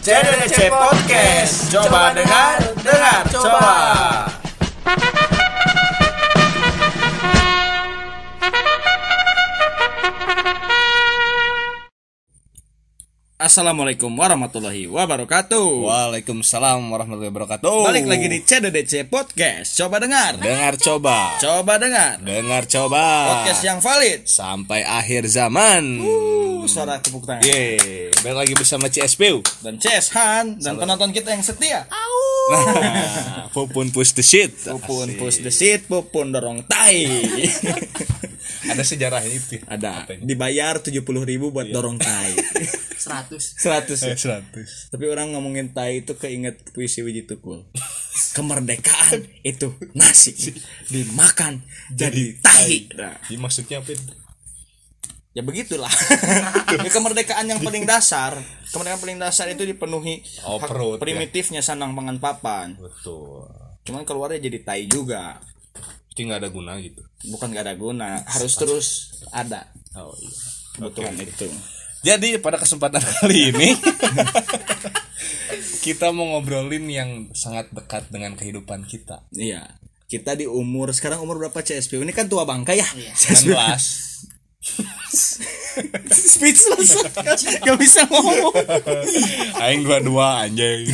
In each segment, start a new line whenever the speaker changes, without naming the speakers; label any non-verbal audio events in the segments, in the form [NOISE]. CDDC Podcast. Coba dengar, dengar, coba.
Assalamualaikum warahmatullahi
Oh.
wabarakatuh.
Waalaikumsalam warahmatullahi wabarakatuh.
Balik lagi di CDDC Podcast. Coba dengar.
Dengar coba.
Coba dengar.
Dengar coba.
Podcast ya. yang valid.
sampai akhir zaman.
Uh, suara tepuk tangan.
Iya. Yeay, balik lagi bersama [LAUGHS] CSPU.
Dan Ces Han dan penonton kita yang setia.
Nah, Pupun push the shit. Asik.
Pupun push the seat, pupun dorong
[LAUGHS]
tai.
Ada sejarahnya itu. ya?
Ada.
Apa ini? Iya.
Dibayar 70 ribu buat dorong
[LAUGHS]
tai. 100. 100.
Eh, 100.
Tapi orang ngomongin tai itu keinget puisi Wiji
[LAUGHS]
Tukul. Kemerdekaan itu nasi dimakan jadi tahi. Nah.
Jadi maksudnya apa? itu?
ya
[LAUGHS]
begitulah Ya, kemerdekaan yang paling dasar kemerdekaan paling dasar itu dipenuhi
Oh,
hak
perut, ya.
primitifnya sanang pangan papan
Betul.
cuman keluarnya jadi tai juga
Jadi nggak ada guna gitu.
bukan gak ada guna harus terus ada
Oh iya.
kebutuhan itu
Jadi pada kesempatan [LAUGHS] kali ini kita mau ngobrolin yang sangat dekat dengan kehidupan kita.
iya kita di umur sekarang umur berapa CSP ini kan tua bangka ya
19.
[LAUGHS] speechless [LAUGHS] gak bisa ngomong
Aing 22 anjing.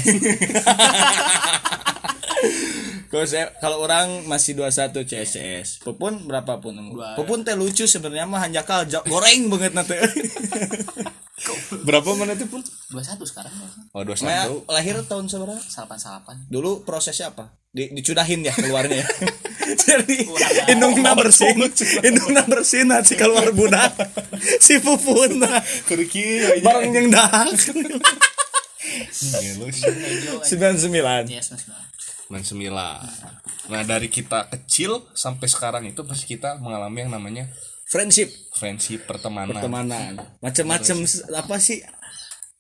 kalau saya kalau orang masih 21 CSS pupun berapapun umur pupun teh lucu sebenarnya mah hanjakal jo- goreng banget nanti [LAUGHS]
Berapa menit itu pun?
21 sekarang ya.
Oh, 21.
Nah, lahir tahun seberapa
salapan salapan
dulu prosesnya apa Di- dicudahin ya keluarnya [LAUGHS] ya? jadi [LAUGHS] indungna bersih indungna bersih nanti keluar budak si pupuna
Kerikil aja.
bareng yang dahak
Ngelus.
99
ya sembilan sembilan
Man Iya, sembilan. Nah, dari kita kecil sampai sekarang itu pasti kita mengalami yang namanya
friendship
friendship pertemanan.
pertemanan macam-macam se- apa sih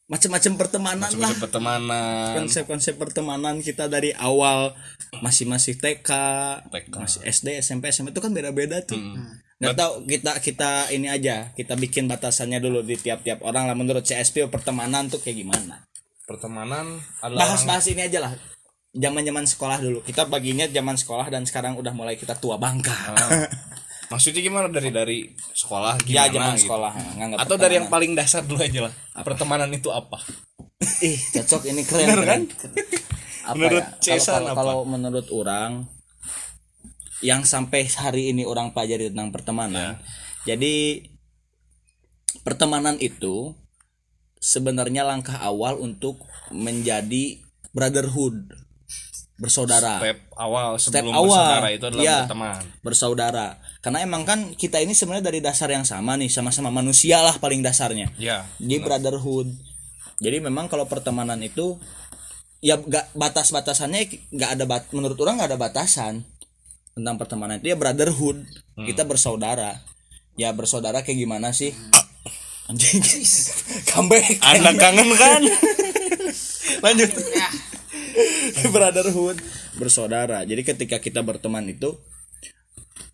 macam-macam pertemanan lah
Macam-macam pertemanan.
konsep-konsep pertemanan kita dari awal masih-masih TK,
TK.
masih SD, SMP, SMA itu kan beda-beda tuh.
Hmm.
Nggak tahu kita kita ini aja, kita bikin batasannya dulu di tiap-tiap orang lah menurut CSP pertemanan tuh kayak gimana.
Pertemanan adalah
Bahas-bahas ini aja lah. Zaman-zaman sekolah dulu. Kita baginya zaman sekolah dan sekarang udah mulai kita tua bangka.
Ah, Maksudnya gimana dari dari sekolah
[LAUGHS] Ya
gimana
zaman
gitu?
sekolah nganggap
Atau dari yang paling dasar dulu aja lah. Pertemanan itu apa?
pertemanan. ih cocok ini keren. keren. Apa
kan? Menurut
ya? Kalau-
Cesan
kalau-
apa?
kalau menurut orang yang sampai hari ini orang pelajari tentang pertemanan.
Ya.
Jadi pertemanan itu sebenarnya langkah awal untuk menjadi brotherhood, bersaudara,
Step awal sebelum
Ah. awal.
bersaudara itu adalah
Iya.
berteman.
bersaudara. Karena emang kan kita ini sebenarnya dari dasar yang sama nih, sama-sama manusia lah paling dasarnya. [LAUGHS]
Ya.
Di brotherhood. Jadi memang kalau pertemanan itu ya gak, batas-batasannya nggak ada bat, menurut orang nggak ada batasan tentang pertemanan itu ya brotherhood. Kita bersaudara. Ya bersaudara kayak gimana sih? Anjing. [LAUGHS] Comeback.
Anak kangen kan?
Lanjut. [LAUGHS] Brotherhood, bersaudara. Jadi ketika kita berteman itu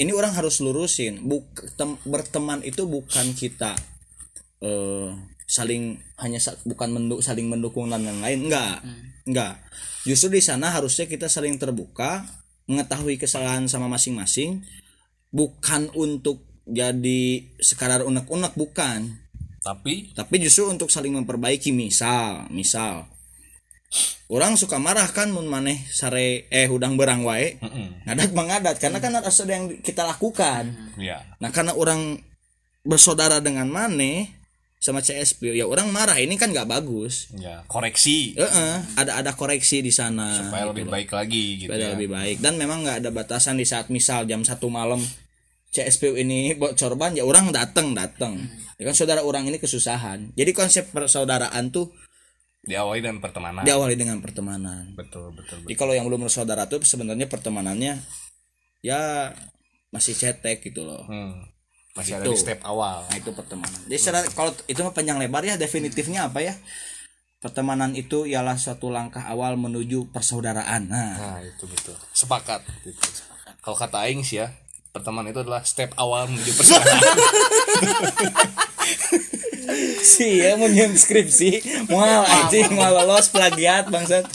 ini orang harus lurusin, Buk- tem- berteman itu bukan kita eh saling hanya sa- bukan mendu- saling mendukung dan lain-lain, enggak. Enggak. Justru di sana harusnya kita saling terbuka, mengetahui kesalahan sama masing-masing, bukan untuk jadi sekadar unek-unek bukan,
Tapi
tapi justru untuk saling memperbaiki misal misal orang suka marah kan mun maneh sare eh udang berang wae ngadat mengadat karena kan harus ada yang kita lakukan
ya.
nah karena orang bersaudara dengan maneh sama CSP ya orang marah ini kan nggak bagus
Ya, koreksi
Heeh, ada ada koreksi di sana
supaya lebih baik lagi gitu.
Iya. Beda
ya.
lebih baik dan memang nggak ada batasan di saat misal jam satu malam CSPU ini [LAUGHS] bocor ban ya orang datang datang ya kan saudara orang ini kesusahan jadi konsep persaudaraan tuh
Diawali dengan pertemanan.
diawali dengan pertemanan
betul, betul, betul.
jadi kalau yang belum bersaudara tuh sebenarnya pertemanannya ya masih cetek gitu loh
Hmm. Masih ada di
Gitu.
step awal.
Nah, itu pertemanan. Jadi secara- kalau itu mah panjang lebar ya definitifnya apa ya? Pertemanan itu ialah suatu langkah awal menuju persaudaraan. Nah,
Nah, itu betul. Sepakat. Gitu. Kalau kata aing sih ya,
[LAUGHS]
pertemanan itu adalah step awal menuju persahabatan.
si ya mau nyium skripsi moal anjing moal lolos plagiat bangsat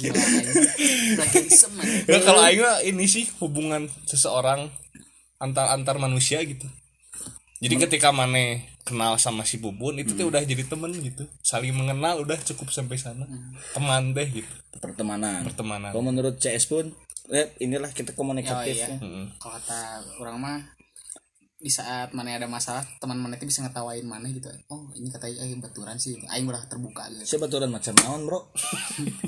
plagiarisme anjing.
Ya, kalau aing mah ini sih hubungan seseorang antar antar manusia gitu. Jadi ketika Mane kenal sama si Bubun itu
Hmm.
tuh udah jadi temen gitu. Saling mengenal udah cukup sampai sana.
Hmm.
Teman deh gitu,
pertemanan
pertemanan.
kalau menurut CS pun eh, inilah kita
Oh,
komunikatif ya.
iya. Kalau kata orang mah di saat mana ada masalah teman mana itu bisa ngetawain mana gitu oh ini kata aing baturan sih aing udah terbuka gitu
Saya baturan macam naon
[LAUGHS]
bro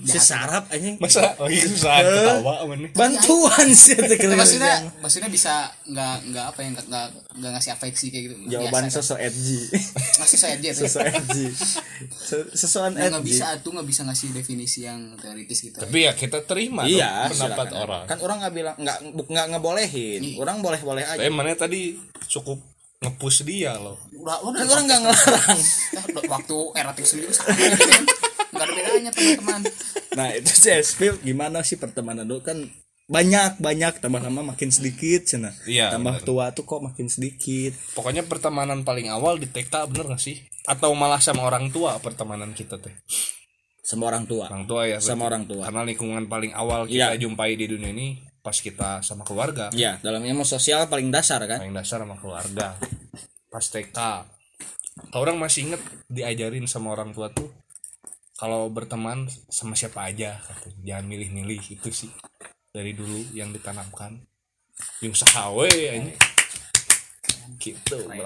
Sesarap anjing [LAUGHS]
Masa Eh. lagi susah ketawa Mane.
Bantuan sih teh
Itu
keren.
maksudnya maksudnya bisa nggak nggak apa yang nggak nggak ngasih afeksi kayak gitu
Jawaban
Biasa,
sosok edgy [LAUGHS]
kan. masih saya aja tuh
Sosok edgy So- Sosokan
nggak
edgy
bisa tuh nggak bisa ngasih definisi yang teoritis gitu
Tapi ya kita terima dong
Iya
pendapat
silakan.
orang.
Kan orang nggak bilang nggak bu- nggak ngebolehin Orang boleh-boleh aja
Tapi Mane tadi cukup ngepush dia loh.
udah udah
Kan orang nggak ngelarang
udah, waktu erotik sendiri sama gitu kan. nggak ada bedanya teman-teman
Nah itu CSP gimana sih pertemanan dulu kan banyak banyak tambah lama makin sedikit cina
Iya,
tambah
benar.
tua tuh kok makin sedikit
Pokoknya pertemanan paling awal di TK bener gak sih? Atau malah sama orang tua pertemanan kita teh.
sama orang tua
Orang tua ya.
sama
berarti.
orang tua
Karena lingkungan paling awal kita jumpai di dunia ini pas kita sama keluarga.
ya dalam ilmu sosial paling dasar kan
Paling dasar sama keluarga. Pas TK. Kalau orang masih inget diajarin sama orang tua tuh kalau berteman sama siapa aja katanya. jangan milih-milih itu sih dari dulu yang ditanamkan yang sahawe ini gitu bro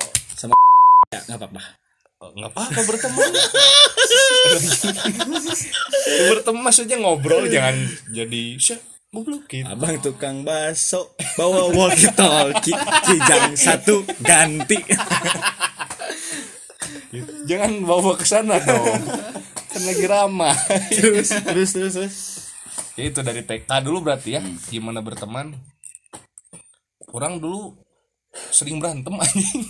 ya nggak apa-apa
Oh, nggak apa-apa berteman berteman maksudnya ngobrol jangan jadi syah goblok gitu
abang tukang baso bawa walkie talkie kijang satu ganti
Gitu. jangan bawa ke sana dong kan lagi ramah
terus terus terus, terus.
Ya, itu dari TK dulu berarti ya gimana berteman kurang dulu sering berantem [LAUGHS] anjing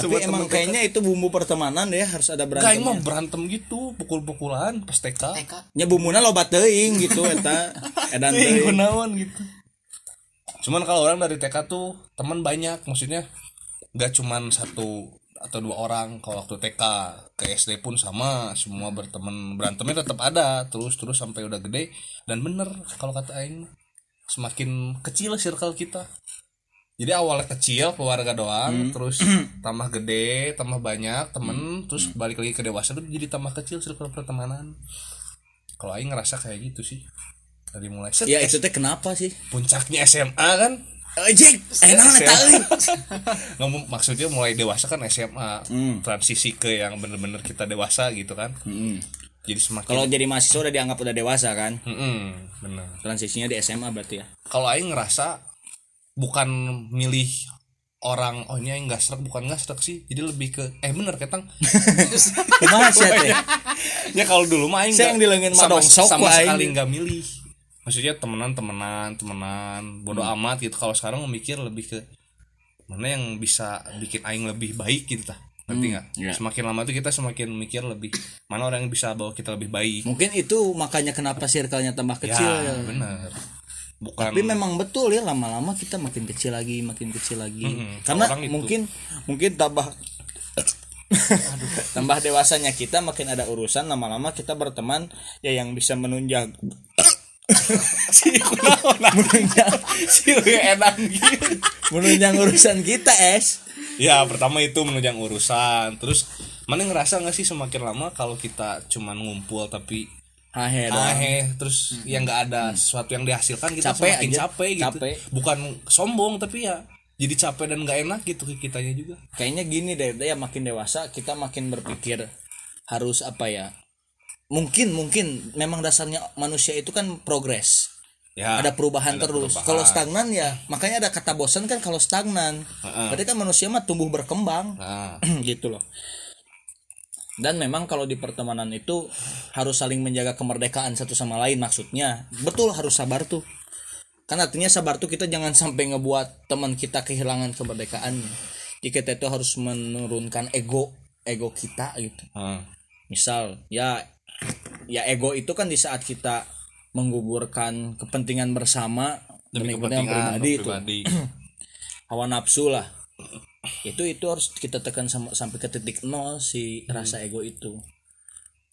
tapi emang kayaknya itu bumbu pertemanan ya harus ada
kayak mah
berantem
berantem gitu pukul-pukulan pas TK
TK
ya bumbunya lobat teuing gitu eta edan
Ting
teuing
gunawan gitu. Cuman kalau orang dari TK tuh teman banyak, maksudnya nggak cuman satu atau dua orang kalau waktu TK ke SD pun sama semua berteman berantemnya tetap ada terus terus sampai udah gede dan bener kalau kata Aing semakin kecil circle kita jadi awalnya kecil keluarga doang terus tambah gede tambah banyak temen terus balik lagi ke dewasa tuh jadi tambah kecil circle pertemanan kalau Aing ngerasa kayak gitu sih dari mulai set,
ya itu teh kenapa sih
puncaknya SMA kan
ojek enak eta euy.
[LAUGHS] Nggak, mu- maksudnya mulai dewasa kan SMA transisi ke yang bener-bener kita dewasa gitu kan jadi semakin
Kalau jadi mahasiswa udah dianggap udah dewasa kan?
Mm-mm, bener
Transisinya di SMA berarti ya.
kalau Aing ngerasa bukan milih orang oh ini Aing nggak serak bukan nggak serak sih jadi lebih ke eh bener ketang
Kumaha sih teh?
ya kalau dulu mah aing
Saya yang
nggak-
dilengen mah
sama,
dongsok
sama
ku aing.
sekali nggak milih maksudnya temenan temenan temenan bodoh
Hmm.
amat gitu kalau sekarang mikir lebih ke mana yang bisa bikin aing lebih baik gitu tah ngerti nggak
iya.
semakin lama tuh kita semakin mikir lebih mana orang yang bisa bawa kita lebih baik
Mungkin itu makanya kenapa circle-nya tambah
ya
kecil. ya.
bener bukan
Tapi memang betul ya lama-lama kita makin kecil lagi, makin kecil lagi.
Mm-mm,
Karena
orang itu.
mungkin mungkin tambah [COUGHS] tambah dewasanya kita makin ada urusan lama-lama kita berteman ya yang bisa menunjang [COUGHS] menunjang
sih
ya,
enak gitu
menunjang urusan kita es
[LAUGHS] ya pertama itu menunjang urusan terus mana ngerasa nggak sih semakin lama kalau kita cuman ngumpul tapi
Hahe doang.
aneh eh, terus yang nggak ada sesuatu yang dihasilkan kita
Capek
semakin
aja.
Ah. capek gitu
Capek.
bukan sombong tapi ya jadi capek dan nggak enak gitu ke kitanya juga
kayaknya gini deh ya makin dewasa kita makin berpikir harus apa ya mungkin mungkin memang dasarnya manusia itu kan progres
ya
ada perubahan terus
perubahan.
kalau stagnan ya makanya ada kata bosan kan kalau stagnan berarti kan manusia mah tumbuh berkembang
nah,
[CLEARS THROAT] gitu loh dan memang kalau di pertemanan itu harus saling menjaga kemerdekaan satu sama lain maksudnya betul harus sabar tuh kan artinya sabar tuh kita jangan sampai ngebuat teman kita kehilangan kemerdekaannya jadi kita itu harus menurunkan ego ego kita gitu
hmm.
misal ya ya ego itu kan di saat kita menggugurkan kepentingan bersama
demi kepentingan
kepentingan pribadi itu
pribadi
hawa nafsu lah itu itu harus kita tekan sama, sampai ke titik nol si rasa ego itu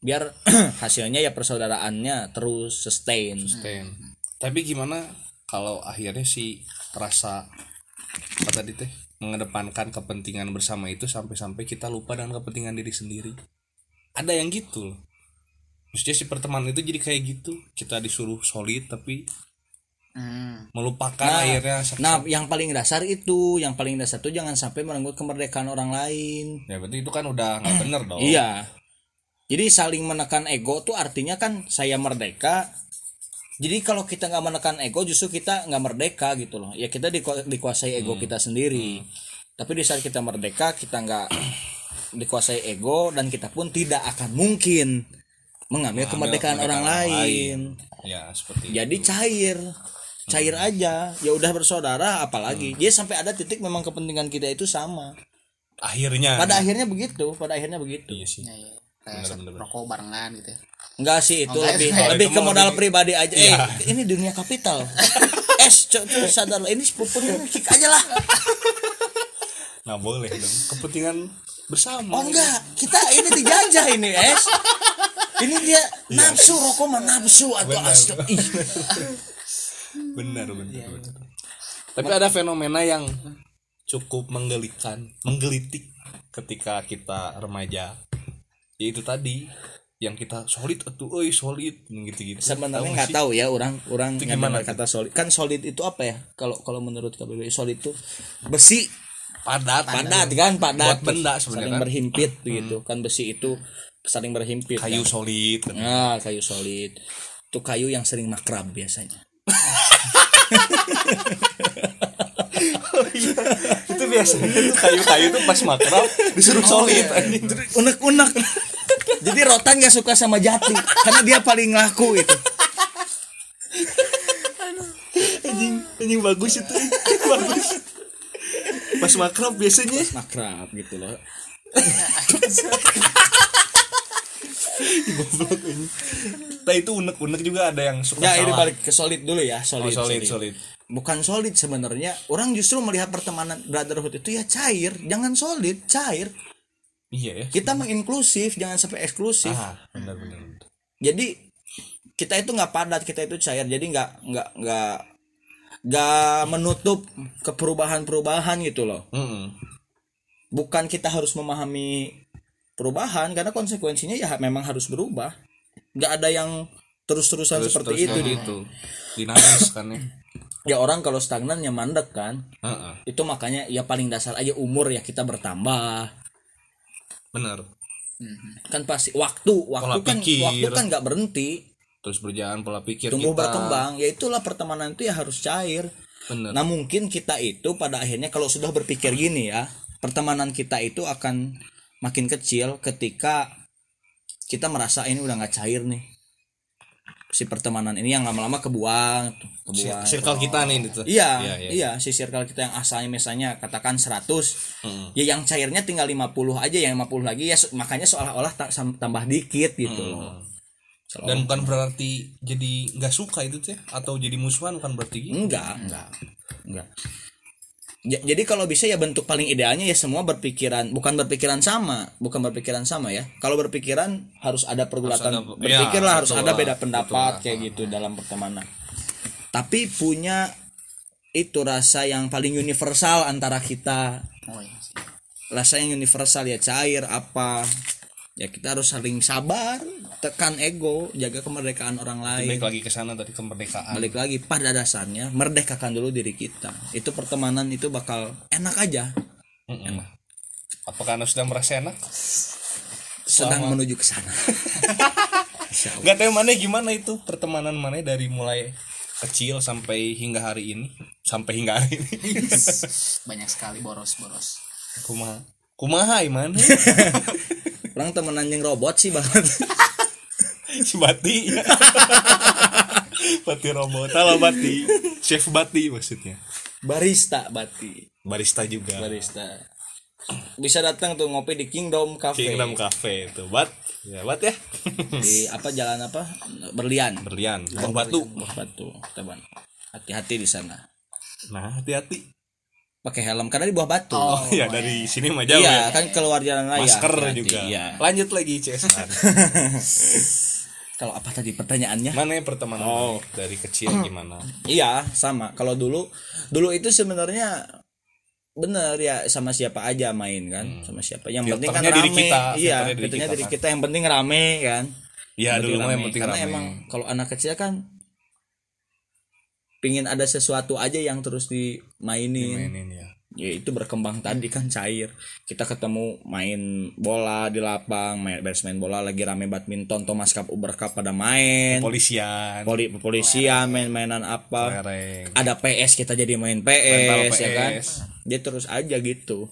biar [CLEARS THROAT] hasilnya ya persaudaraannya terus sustain
Ten. Tapi gimana kalau akhirnya si rasa apa tadi teh mengedepankan kepentingan bersama itu sampai-sampai kita lupa dengan kepentingan diri sendiri. Ada yang gitu loh. Maksudnya si pertemanan itu jadi kayak gitu. Kita disuruh solid tapi
Hmm.
melupakan
Nah,
akhirnya se-
nah yang paling dasar itu yang paling dasar itu jangan sampai merenggut kemerdekaan orang lain
Ya berarti itu kan udah nggak bener dong.
Iya. Jadi saling menekan ego tuh artinya kan saya merdeka. Jadi kalau kita nggak menekan ego justru kita nggak merdeka gitu loh. Ya kita diku- dikuasai ego kita sendiri. Tapi di saat kita merdeka kita nggak [CLEARS THROAT] dikuasai ego dan kita pun tidak akan mungkin mengambil kemerdekaan, orang, lain.
Ya seperti
Jadi cair cair aja ya udah bersaudara apalagi dia sampai ada titik memang kepentingan kita itu sama
akhirnya.
pada akhirnya begitu pada akhirnya begitu
Iya sih.
Ya, ya. Kayak set- rokok barengan gitu ya.
Enggak sih itu
Oh, enggak,
lebih
itu
lebih
mah
ke modal
lebih-
pribadi aja.
Iya.
Eh, ini dunia kapital. [LAUGHS] es cok cok, sadar lah. ini sepupunya nih, kick aja lah.
Nggak boleh dong. Kepentingan bersama.
Oh enggak, kita ini dijajah ini es. Ini dia nafsu rokok mah nafsu atau
Iya. Benar.
astu. Ih,
benar benar, benar. tapi ada fenomena yang cukup menggelikan menggelitik ketika kita remaja yaitu tadi yang kita solid atau oi solid gitu gitu
sebenarnya nggak tahu ya orang orang
Itu
nggak
gimana
dengar kata solid. Kan solid itu apa ya? Kalau kalau menurut KBBI solid itu besi
padat
padat kan padat
Buat benda sebenarnya
saling
kan.
berhimpit begitu kan besi itu saling berhimpit
kayu solid kan.
Nah, kayu solid. Itu kayu yang sering makrab biasanya.
itu biasanya tuh kayu-kayu tuh pas makrab
Oh,
disuruh solid anjing.
iya, Unek-unek. Jadi rotan gak suka sama jati karena dia paling laku itu.
anjing anjing bagus itu
[LAUGHS]
bagus pas makrab biasanya
Makrab gitu loh.
goblok ini Nah, itu unek-unek juga ada yang suka
Ya, ini
salah.
balik ke solid dulu ya,
Oh,
solid.
solid solid
Bukan solid sebenarnya. Orang justru melihat pertemanan brotherhood itu ya cair, jangan solid, cair.
iya ya
Kita menginklusif, jangan sampai eksklusif.
ah benar benar benar.
jadi kita itu nggak padat kita itu cair jadi nggak nggak nggak nggak menutup ke perubahan-perubahan gitu loh
Mm-mm.
bukan kita harus memahami perubahan karena konsekuensinya ya memang harus berubah nggak ada yang terus-terusan seperti itu
jadi itu dinamis kan ya
ya orang kalau stagnan ya mandek kan
Heeh,
itu makanya ya paling dasar aja umur ya kita bertambah
benar
kan pasti waktu waktu kan
pikir.
waktu kan nggak berhenti
terus berjalan pola pikir
tumbuh
kita
berkembang ya itulah pertemanan itu ya harus cair
Bener.
nah mungkin kita itu pada akhirnya kalau sudah berpikir gini ya pertemanan kita itu akan makin kecil ketika kita merasa ini udah nggak cair nih si pertemanan ini yang lama-lama kebuang tuh, kebuang
circle kita nih itu
Nah, Iya,
Iya, iya.
iya, si circle kita yang asalnya misalnya katakan 100, ya yang cairnya tinggal 50 aja, yang 50 lagi ya so- makanya seolah-olah ta- sam- tambah dikit gitu loh. Seolah-
dan bukan berarti jadi nggak suka itu teh atau jadi musuhan bukan berarti gitu.
Enggak, enggak, enggak. Ja- Jadi kalau bisa ya bentuk paling idealnya ya semua berpikiran bukan berpikiran sama, bukan berpikiran sama ya. Kalau berpikiran harus ada pergulatan,
Harus ada-
berpikir
ya,
lah harus
betul
ada
lah,
beda
betul
pendapat
lah. Nah.
kayak gitu dalam pertemanan. Tapi punya itu rasa yang paling universal antara kita,
Oh iya. sih.
rasa yang universal ya cair apa ya kita harus saling sabar, tekan ego, jaga kemerdekaan orang lain
baik lagi ke sana tadi kemerdekaan
balik lagi pada dasarnya merdekakan dulu diri kita itu pertemanan itu bakal enak aja
Mm-mm. apakah anda sudah merasa enak
sedang menuju ke sana [LAUGHS] Insya Allah.
nggak tahu mana gimana itu pertemanan mana dari mulai kecil sampai hingga hari ini sampai hingga hari ini
[LAUGHS]
Banyak sekali boros-boros.
kumaha kumaha
[LAUGHS]
iman
orang temenan yang robot sih banget
si Bati Bati robot Halo Bati Chef Bati maksudnya
[LAUGHS] barista bati
Barista juga
barista bisa datang tuh ngopi di Kingdom Cafe
Kingdom Cafe itu Bat Ya Bat ya
di apa jalan apa [LAUGHS] berlian
Berlian Buah batu
Buah batu Teban hati-hati di sana
Nah hati-hati
pakai helm karena di bawah batu
[LAUGHS] ya dari sini mah jauh
Oh,
ya
iya kan keluar jalan raya
masker
Hati-hati,
juga
iya.
lanjut lagi
[LAUGHS]
CS
kalau apa tadi pertanyaannya
mana pertemanan oh. dari kecil gimana
Iya, sama. Kalau dulu dulu itu sebenarnya bener ya sama siapa aja main kan, sama siapa. Yang penting kan
Hmm. Filternya
rame.
diri kita,
iya,
filternya diri
filternya
kita
diri
kan.
kita yang penting rame kan.
ya dulu mah yang penting
Karena
rame
emang kalau anak kecil kan pingin ada sesuatu aja yang terus dimainin.
mainin ya
Ya itu berkembang tadi kan cair. Kita ketemu main bola di lapang, main beres main bola lagi rame badminton, Thomas Cup, Uber Cup pada main.
polisian
Poli, polisian main-mainan apa
lereng
ada PS kita jadi main
Rental
PS, ya kan
PS.
dia terus aja gitu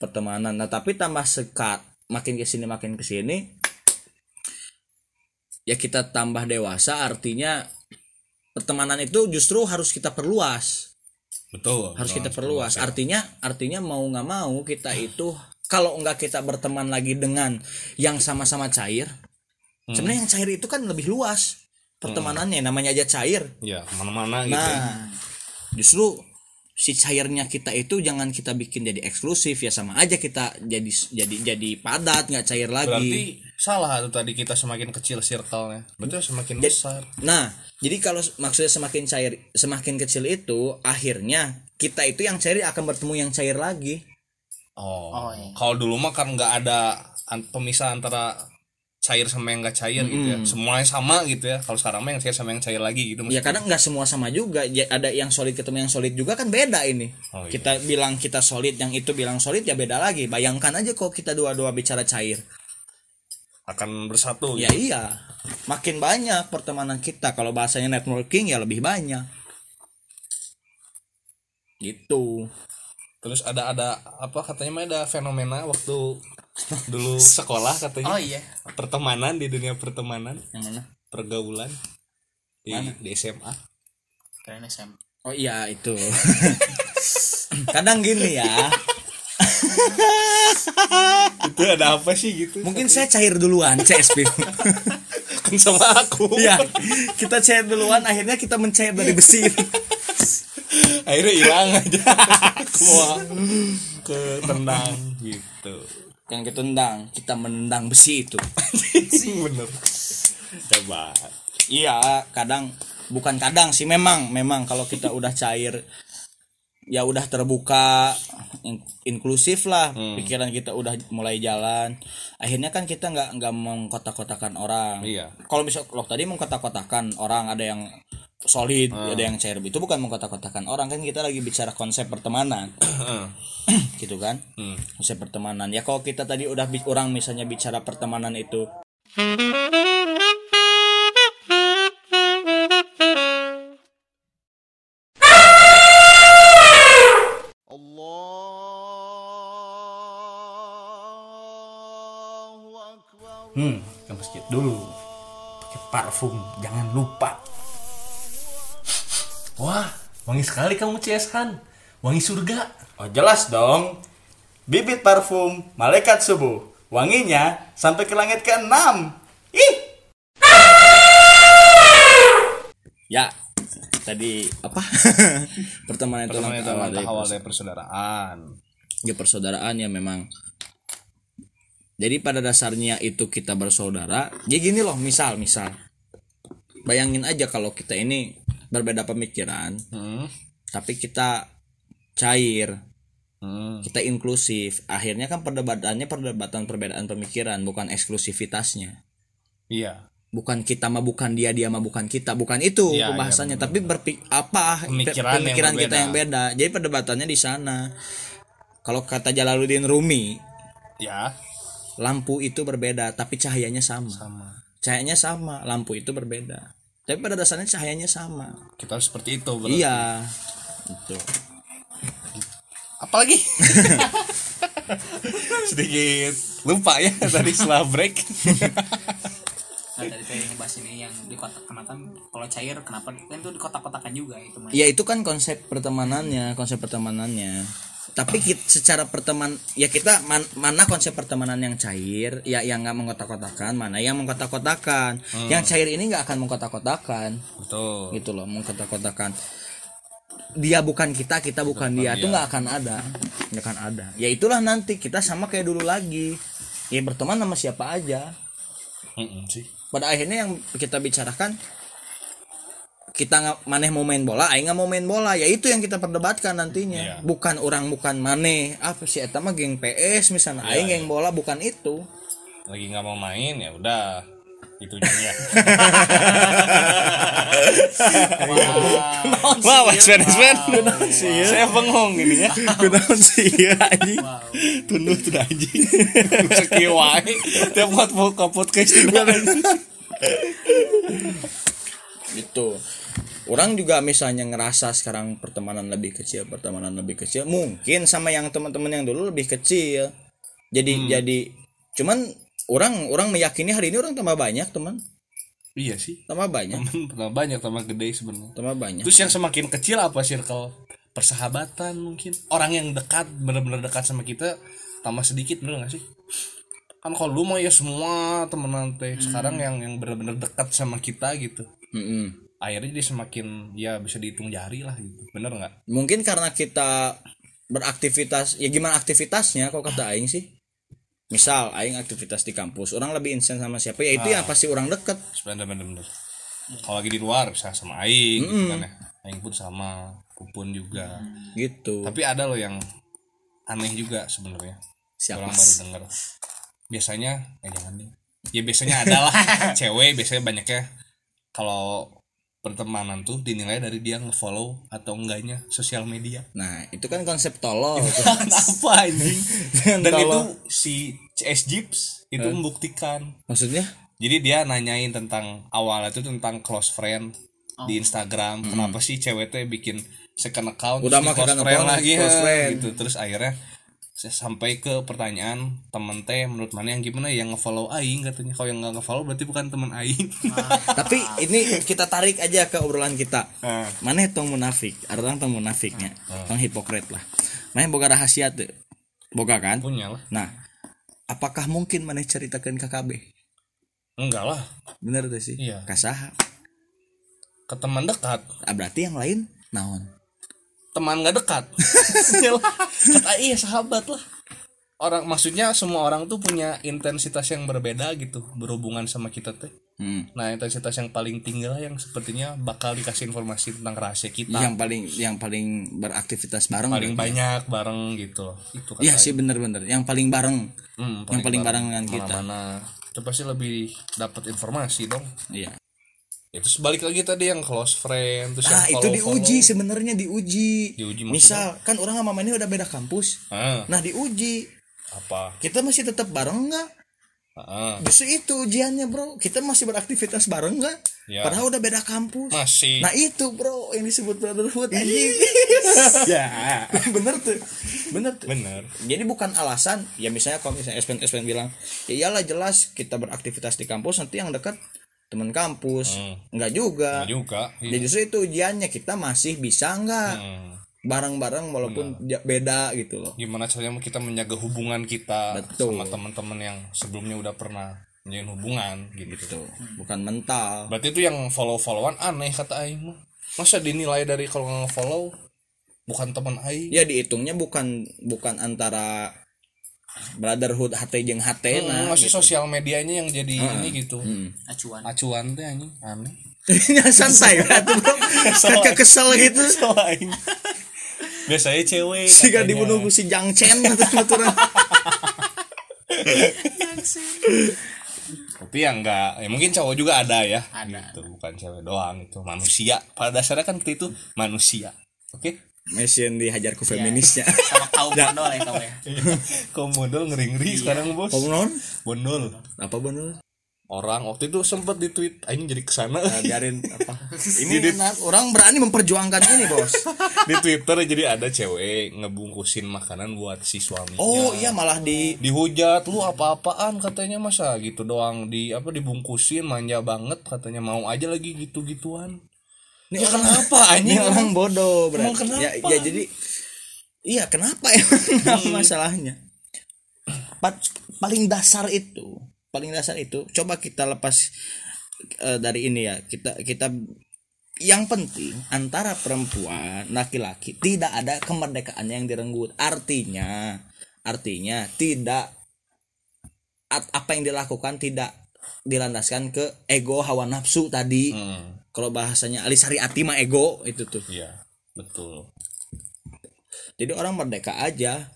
pertemanan nah tapi tambah sekat makin kesini makin kesini ya kita tambah dewasa artinya pertemanan itu justru harus kita perluas
betul
harus
betul.
kita perluas artinya artinya mau nggak mau kita itu kalau nggak kita berteman lagi dengan yang sama-sama cair sebenarnya yang cair itu kan lebih luas pertemanannya namanya aja cair
ya kemana-mana gitu ya.
Nah, justru si cairnya kita itu jangan kita bikin jadi eksklusif ya sama aja kita jadi jadi jadi padat nggak cair lagi.
berarti
Iya.
salah tuh tadi kita semakin kecil circle-nya betul semakin besar
Nah, jadi kalau s- maksudnya semakin cair semakin kecil itu akhirnya kita itu yang cair akan bertemu yang cair lagi.
oh,
Oh, iya.
kalau dulu mah kan nggak ada an- pemisah antara cair sama yang nggak cair gitu ya semuanya sama gitu ya kalau sekarang mah yang cair sama yang cair lagi gitu
Ya
Iya kan?
kadang nggak semua sama juga. Ya, ada yang solid ketemu yang solid juga kan beda ini.
Oh, iya.
Kita bilang kita solid, yang itu bilang solid ya beda lagi. Bayangkan aja kalau kita dua-dua bicara cair.
akan bersatu
Ya
gitu.
iya, makin banyak pertemanan kita. Kalau bahasanya networking ya lebih banyak. Gitu.
terus ada ada apa katanya mah ada fenomena waktu [LAUGHS] dulu sekolah katanya
Oh iya.
pertemanan di dunia pertemanan
Yang mana?
pergaulan di, di SMA
Keren SM.
Oh iya itu. [LAUGHS] Kadang gini ya,
itu ada apa sih gitu [LAUGHS]
mungkin saya cair duluan CSP. [LAUGHS]
kan sama aku
Iya, kita cair duluan akhirnya kita mencair dari besi.
akhirnya hilang aja [LAUGHS] semua ke tendang gitu
Yang kita tendang, kita menendang besi itu.
[LAUGHS] bener hebat
Iya, kadang bukan kadang sih memang memang kalau kita udah cair ya udah terbuka in- inklusif lah pikiran kita udah mulai jalan akhirnya kan kita nggak nggak mengkotak-kotakan orang
Iya.
kalau misal kalau tadi mengkotak-kotakan orang ada yang solid ada yang cair itu bukan mengkotak-kotakan orang kan kita lagi bicara konsep pertemanan [CLEARS THROAT] gitu kan
Hmm.
konsep pertemanan ya kalau kita tadi udah bi- orang misalnya bicara pertemanan itu
Hmm, ke masjid dulu. Pakai parfum, jangan lupa.
[CLEARS THROAT] wah wangi sekali kamu CS Han wangi surga
Oh, jelas dong. Bibit parfum malaikat subuh. Wanginya sampai ke langit keenam. Ih,
ya tadi apa [LAUGHS] pertemanan itu
pertama itu
awal dari
awal dari persaudaraan
pers- ya persaudaraan ya memang jadi pada dasarnya itu kita bersaudara ya gini loh misal misal bayangin aja kalau kita ini berbeda pemikiran
hmm.
tapi kita cair
Hmm.
kita inklusif akhirnya kan perdebatannya perdebatan perbedaan pemikiran bukan eksklusivitasnya
iya
bukan kita mah bukan dia dia mah bukan kita bukan itu
Iya,
pembahasannya tapi berpik apa
Pemikiran yang
pemikiran kita
berbeda.
yang beda jadi perdebatannya di sana kalau kata Jalaluddin Rumi
ya
lampu itu berbeda tapi cahayanya sama.
sama
cahayanya sama lampu itu berbeda tapi pada dasarnya cahayanya sama
kita harus seperti itu berarti.
iya Gitu. itu
Apalagi?
sedikit lupa ya [LAUGHS] tadi setelah break
Nah, tadi saya ngebahas ini yang di kotak kenatan kalau cair kenapa kan itu di kotak-kotakan juga itu mah.
ya itu kan konsep pertemanannya konsep pertemanannya tapi kit- secara perteman ya kita man- mana konsep pertemanan yang cair ya yang nggak mengkotak-kotakan mana yang mengkotak-kotakan yang cair ini nggak akan mengkotak-kotakan
[LAUGHS] betul
gitu loh mengkotak-kotakan dia bukan kita kita bukan dia itu nggak akan ada nggak akan ada ya itulah nanti kita sama kayak dulu lagi ya berteman sama siapa aja
Mm-mm sih
pada akhirnya yang kita bicarakan kita nggak maneh mau main bola aing nggak mau main bola ya itu yang kita perdebatkan nantinya
Iya.
bukan orang bukan maneh apa sih eta mah geng PS misalnya
Iya,
aing geng bola bukan
[LAUGHS]
itu
lagi nggak mau main ya udah itu [LAUGHS] ya wah wah Sven Sven saya bengong ini
[LAUGHS]
ya
kunaon sih ieu anjing
tunduh tuh anjing sekiwai tiap buat mau ke podcast tinggal
gitu orang juga misalnya ngerasa sekarang pertemanan lebih kecil pertemanan lebih kecil mungkin sama yang teman-teman yang dulu lebih kecil jadi
Hmm.
jadi cuman orang orang meyakini hari ini orang tambah banyak teman
iya sih
tambah banyak
teman pernah banyak teman gede sebenarnya
tambah banyak
terus yang semakin kecil apa circle persahabatan mungkin orang yang dekat benar-benar dekat sama kita tambah sedikit bener gak sih kan kalau lu mah ya semua temenan teh sekarang yang yang benar-benar dekat sama kita gitu
Mm-mm.
akhirnya jadi semakin ya bisa dihitung jari lah gitu bener nggak
mungkin karena kita beraktivitas ya gimana aktivitasnya kok kata aing sih misal aing aktivitas di kampus orang lebih insen sama siapa ya itu yang
Ah.
pasti orang deket
sebenarnya bener-bener kalau lagi di luar bisa sama aing gitu kan ya aing pun sama pupun juga
gitu
tapi ada loh yang aneh juga sebenarnya
siapa
orang baru denger biasanya eh jangan deh ya biasanya ada lah cewek biasanya banyaknya kalau pertemanan tuh dinilai dari dia ngefollow atau enggaknya sosial media
[LAUGHS] nah itu kan konsep
[LAUGHS]
tolol
apa anjing dan itu
Tolong.
si CS Jeeps itu membuktikan
maksudnya
jadi dia nanyain tentang awalnya itu tentang close friend di Instagram kenapa sih cewek tuh bikin second account
Hmm. Udah
terus di
mah
close
second
friend
account,
lagi [LAUGHS]
close
ya,
friend.
gitu terus akhirnya saya sampai ke pertanyaan temen teh menurut mana yang gimana yang ngefollow aing katanya kalau yang nggak ngefollow berarti bukan temen aing [LAUGHS]
tapi ini kita tarik aja ke obrolan kita
Ah.
mana tong munafik ada orang tong munafiknya tong hipokrit lah mana boga rahasia tuh boga kan
punya lah
nah apakah mungkin mana ceritakan KKB
enggak lah
bener tuh sih
Iya.
kasaha
ke teman dekat
Ah, berarti yang lain naon
teman nggak
[LAUGHS]
dekat Ya lah. kata iya sahabat lah orang maksudnya semua orang tuh punya intensitas yang berbeda gitu berhubungan sama kita teh
Hmm.
Nah intensitas yang paling tinggi lah yang sepertinya bakal dikasih informasi tentang rahasia kita
yang paling yang paling beraktivitas bareng
Nah. paling
berarti.
banyak bareng gitu itu kata
Iya sih bener-bener yang paling bareng
Hmm,
yang paling bareng dengan kita
mana itu pasti lebih dapat informasi dong
iya
itu sebalik lagi tadi yang close friend terus
nah
yang
itu
follow-follow.
diuji sebenarnya diuji,
Diuji maksudnya?
misal kan orang sama mana udah beda kampus
Ah,
nah diuji
apa
kita masih tetap bareng nggak
Ah,
justru itu ujiannya bro kita masih beraktivitas bareng nggak
Ya.
padahal udah beda kampus
masih
nah itu bro yang disebut brotherhood anjing [LAUGHS]
ya
bener tuh bener tuh
bener
jadi bukan alasan ya misalnya kalau misalnya SPN SPN bilang ya iyalah jelas kita beraktivitas di kampus nanti yang dekat teman kampus
Hmm.
nggak juga
Bener Iya juga
jadi justru itu ujiannya kita masih bisa nggak
Nah, Hmm.
bareng-bareng walaupun ja- beda gitu loh
gimana caranya kita menjaga hubungan kita
Betul.
sama teman-teman yang sebelumnya udah pernah menjalin hubungan gitu
Tuh, bukan mental
Berarti itu yang follow-followan aneh kata Aing mah. Masa dinilai dari kalau nggak follow bukan teman Aing?
ya dihitungnya bukan bukan antara brotherhood HT jeung HT
Oh.
nah [LAUGHS] Hmm,
Hmm, masih sosial medianya yang jadi ini gitu.
acuan
Acuan teh anjing, aneh.
santai kan
[LAUGHS]
bro Kakak kesel [LAUGHS]
Oh.
gitu
Aing. Biasanya cewek.
Jika
katanya.
dibunuh ku si Jang Chen aturan.
Tapi yang enggak, ya mungkin cowok juga ada ya.
Ada.
Gitu, bukan cewek doang itu manusia. Pada dasarnya kan kita itu manusia. Oke. [LAUGHS]
Mesin dihajar ku feminisnya.
Iya. [LAUGHS] sama kaum bandol ya kamu ya
Kau modal ngeri-ngeri
Iya.
sekarang, Bos.
Komnon?
Bondol.
Apa Eh, bener?
Orang waktu itu sempet di tweet aing jadi kesana
Nah, biarin
[LAUGHS]
apa? Ini enak, orang berani memperjuangkan ini, Bos.
[LAUGHS] di Twitter jadi ada cewek ngebungkusin makanan buat si suaminya.
Oh,
Ya.
iya malah di
Dihujat lu apa-apaan katanya masa gitu doang di apa dibungkusin manja banget katanya mau aja lagi gitu-gituan.
ini
Ya
orang,
[LAUGHS] kenapa
ini
anjing?
orang bodoh berarti.
Emang kenapa? Iya.
Ya, ya jadi Iya, kenapa ya [LAUGHS] masalahnya? Pa- paling dasar itu, paling dasar itu coba kita lepas eh, dari ini ya. Kita kita yang penting antara perempuan laki-laki tidak ada kemerdekaan yang direnggut artinya artinya tidak at- apa yang dilakukan tidak dilandaskan ke ego hawa nafsu tadi
Oh.
kalau bahasanya alisari atima ego itu tuh
Iya, betul.
jadi orang merdeka aja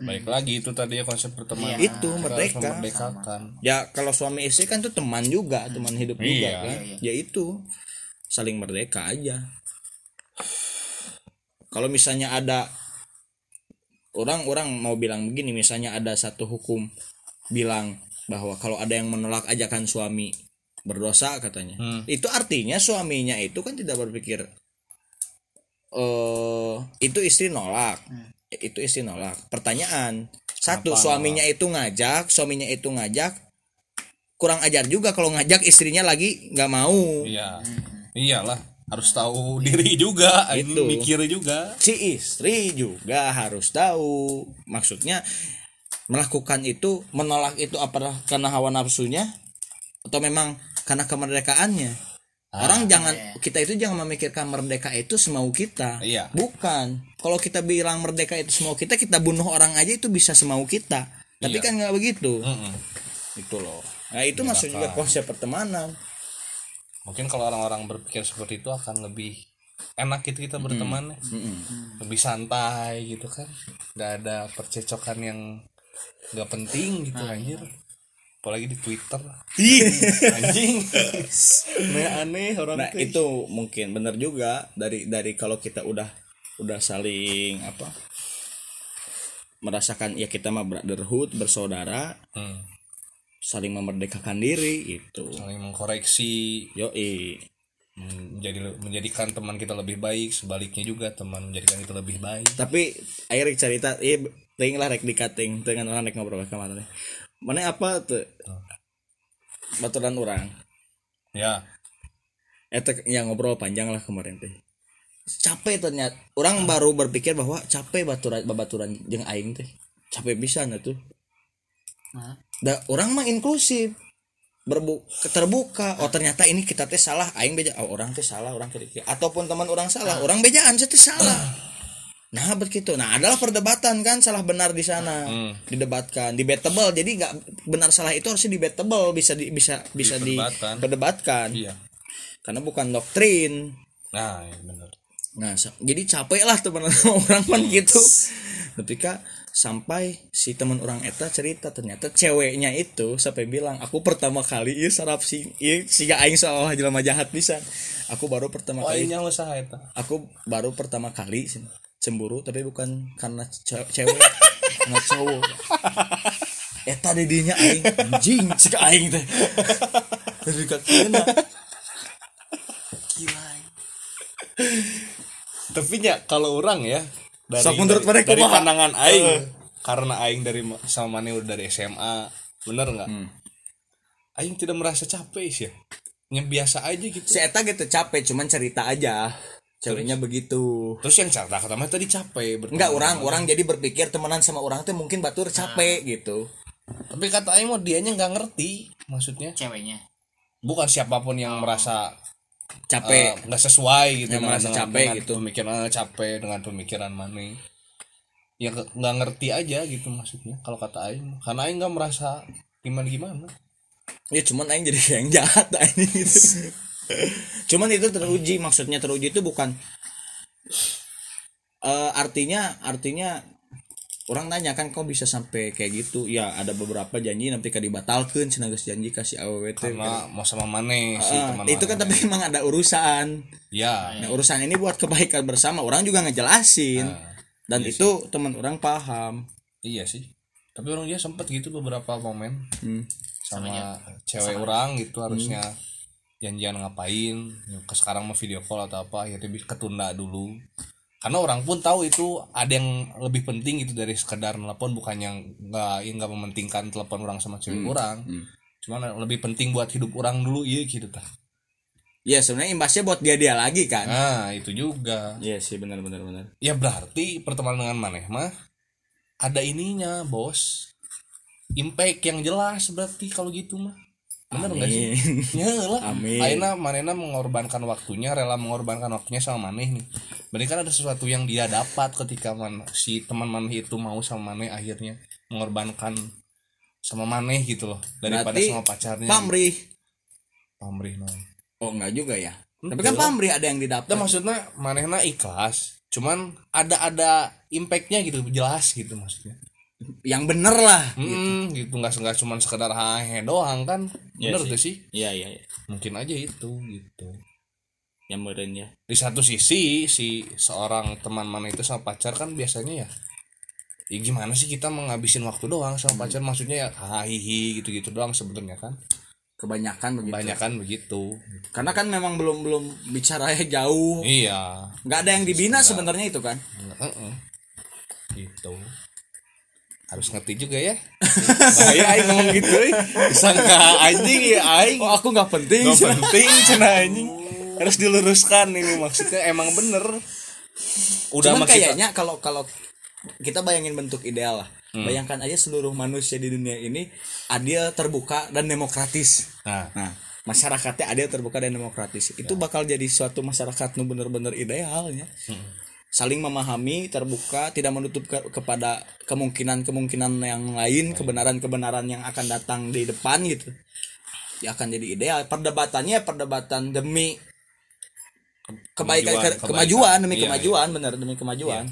Baik lagi itu tadi ya konsep pertemanan.
Iya.
Kita
Itu,
harus
merdeka.
memerdekakan.
ya kalau suami istri kan tuh teman juga teman hidup juga
Iya.
kan ya itu saling merdeka aja kalau misalnya ada orang-orang mau bilang begini misalnya ada satu hukum bilang bahwa kalau ada yang menolak ajakan suami berdosa katanya itu artinya suaminya itu kan tidak berpikir eh itu istri nolak itu istri nolak pertanyaan satu suaminya itu ngajak suaminya itu ngajak kurang ajar juga kalau ngajak istrinya lagi nggak mau
Iya. Iyalah, harus tahu [LAUGHS] diri juga, ini
Gitu.
mikir juga.
si istri juga harus tahu maksudnya melakukan itu menolak itu apa karena hawa nafsunya atau memang karena kemerdekaannya
Ah,
orang
iya.
jangan kita itu jangan memikirkan merdeka itu semau kita
Iya.
bukan kalau kita bilang merdeka itu semau kita kita bunuh orang aja itu bisa semau kita
Iya. Gitu
tapi kan nggak begitu
Mm-mm.
itu loh nah itu maksud juga konsep pertemanan
Mungkin kalau orang-orang berpikir seperti itu akan lebih enak gitu kita berteman ya. Lebih santai gitu kan. Nggak ada percecokan yang nggak penting gitu anjir. Apalagi di Twitter. [LAUGHS] Anjing. aneh orang
nah
teh.
itu mungkin bener juga dari dari kalau kita udah udah saling apa merasakan ya kita mah brotherhood bersaudara
Hmm.
saling memerdekakan diri itu
saling mengkoreksi
yoi
menjadi menjadikan teman kita lebih baik sebaliknya juga teman menjadikan kita lebih baik
tapi akhirnya cerita iya ting lah rek dikating dengan orang rek ngobrol kemana nih mana apa tuh baturan orang
ya
etek yang Eh, ya, ngobrol panjang lah kemarin teh capek ternyata orang baru berpikir bahwa capek baturan babaturan jeung aing teh capek bisa tuh
Nah,
da, orang mah inklusif berbu terbuka oh ternyata ini kita teh salah aing beja oh, orang teh salah orang kiri kiri. ataupun teman orang salah orang bejaan saya teh salah nah begitu nah adalah perdebatan kan salah benar di sana
Hmm.
didebatkan debatable jadi nggak benar salah itu harusnya debatable bisa di, bisa bisa
Diperdebatkan.
diperdebatkan
iya
karena bukan doktrin
nah ya benar
Nah, sa- jadi capek lah teman [LAUGHS] orang kan gitu. Ketika sampai si teman orang eta cerita ternyata ceweknya itu sampai bilang aku pertama kali ieu sarap sing ieu siga aing seolah jelema jahat bisa. Aku baru pertama
oh
kali
ini usaha itu
aku baru pertama kali sen- cemburu tapi bukan karena ce- cewek karena
[LAUGHS]
cowok. Eta dedinya aing anjing siga aing
[LAUGHS]
teh. Tapi iya nah, kakena
gila.
tapi ya kalau orang ya dari
Sok menurut
dari,
mereka
dari
kumaha? [LAUGHS]
pandangan aing karena aing dari ma- sama Mane udah dari SMA bener nggak
Hmm.
aing tidak merasa capek sih ya yang biasa aja gitu
si eta gitu capek cuman cerita aja. Ceweknya begitu.
terus yang cerita kata mah tadi capek berteman.
Enggak orang, orang jadi berpikir temenan sama orang tuh mungkin batur
Nah.
capek gitu.
tapi kata aing mah dianya nggak ngerti maksudnya
Ceweknya.
bukan siapapun yang merasa eh,
Capek.
nggak sesuai gitu
Yang merasa capek gitu.
pemikiran eh, capek dengan pemikiran Mane ya ke- nggak ngerti aja gitu maksudnya kalau kata Aing karena Aing nggak merasa gimana gimana
ya cuman aing jadi yang [LAUGHS] jahat aing gitu. cuman itu teruji maksudnya teruji itu bukan eh, artinya artinya orang nanya kan kok bisa sampai kayak gitu ya ada beberapa janji nanti kan dibatalkan cenah geus janji kasih awwt
karena mau sama Mane si teman
Iya. itu kan tapi emang ada urusan
ya
Nah, urusan ini buat kebaikan bersama orang juga ngejelasin
Ah.
dan itu teman orang paham
iya sih tapi orang dia sempat gitu beberapa momen
Hmm.
sama cewek orang gitu harusnya janjian ngapain Ya, ke sekarang mah video call atau apa akhirnya bisa ketunda dulu karena orang pun tahu itu ada yang lebih penting itu dari sekedar telepon bukan yang nggak yang nggak mementingkan telepon orang sama cewek
Hmm.
orang cuman lebih penting buat hidup orang dulu iya gitu tah
ya sebenarnya imbasnya buat dia dia lagi kan
nah itu juga
Iya sih benar benar benar.
ya berarti pertemanan dengan maneh mah ada ininya bos impact yang jelas berarti kalau gitu mah Bener nggak sih?
Amin.
[LAUGHS] Ya lah.
Amin.
Aina Manena mengorbankan waktunya, rela mengorbankan waktunya sama Maneh nih. Berarti kan ada sesuatu yang dia dapat ketika man, si teman Maneh itu mau sama Maneh akhirnya mengorbankan sama Maneh gitu loh daripada
Berarti
sama pacarnya.
pamrih
Pamrih. Nah.
oh enggak juga ya tapi kan pamrih ada yang didapat
Itu maksudnya Manehna ikhlas, cuman ada ada impactnya gitu jelas gitu maksudnya.
yang bener lah
Hmm, gitu nggak nggak cuman sekedar hahe doang kan?
Iya
Bener tuh sih.
iya iya iya.
Mungkin aja itu gitu.
yang meren ya
di satu sisi si seorang teman mana itu sama pacar kan biasanya ya ya gimana sih kita menghabisin waktu doang sama pacar maksudnya ya hahihi gitu-gitu doang sebenarnya kan
kebanyakan begitu
banyak kan begitu
karena kan memang belum belum bicaranya jauh
iya
nggak ada yang dibina sebenarnya itu kan
Heeh. gitu harus ngerti juga [LAUGHS] ya bahaya aing ngomong gitu euy.
eh.
disangka anjing ya aing
oh aku nggak penting
Gak
[LAUGHS]
penting cina anjing harus diluruskan ini maksudnya emang bener udah
Cuman
sama kita-
kayaknya kalau kalau kita bayangin bentuk ideal lah. Bayangkan aja seluruh manusia di dunia ini adil, terbuka dan demokratis.
nah
Nah, masyarakatnya adil, terbuka dan demokratis. Itu
Ya.
bakal jadi suatu masyarakat nu bener-bener idealnya. Saling memahami, terbuka, tidak menutup ke- kepada kemungkinan-kemungkinan yang lain, kebenaran-kebenaran yang akan datang di depan gitu. Ya akan jadi ideal. Perdebatannya perdebatan demi
Kemajuan,
kebaikan kemajuan,
kebaikan.
demi
Iya,
kemajuan bener demi kemajuan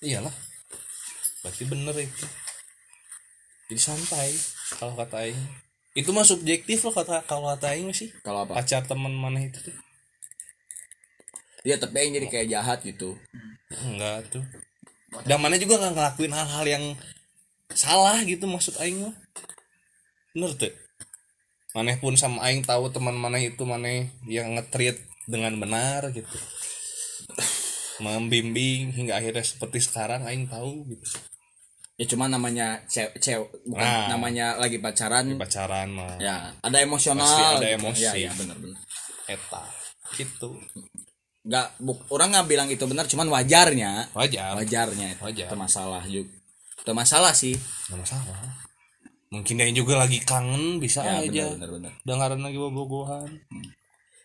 iyalah berarti bener itu jadi santai kalau kata Aing itu mah subjektif loh kata kalau kata Aing sih
kalau apa
pacar teman mana itu tuh
ya tapi yang jadi kayak jahat gitu
enggak tuh dan mana juga nggak ngelakuin hal-hal yang salah gitu maksud Aing mah bener tuh maneh pun sama Aing tahu teman mana itu maneh yang ngetreat dengan benar gitu membimbing hingga akhirnya seperti sekarang Aing tahu gitu
ya cuma namanya cewek bukan
Nah.
namanya lagi pacaran
pacaran mah
ya ada emosional
Pasti ada
gitu.
emosi.
ya, ya benar-benar
eta gitu
nggak bu- orang nggak bilang itu benar cuman wajarnya
wajar
wajarnya itu
Wajar.
Itu masalah juga itu masalah sih
nggak masalah mungkin dia juga lagi kangen bisa
ya
aja
benar-benar
dengaran lagi bobogohan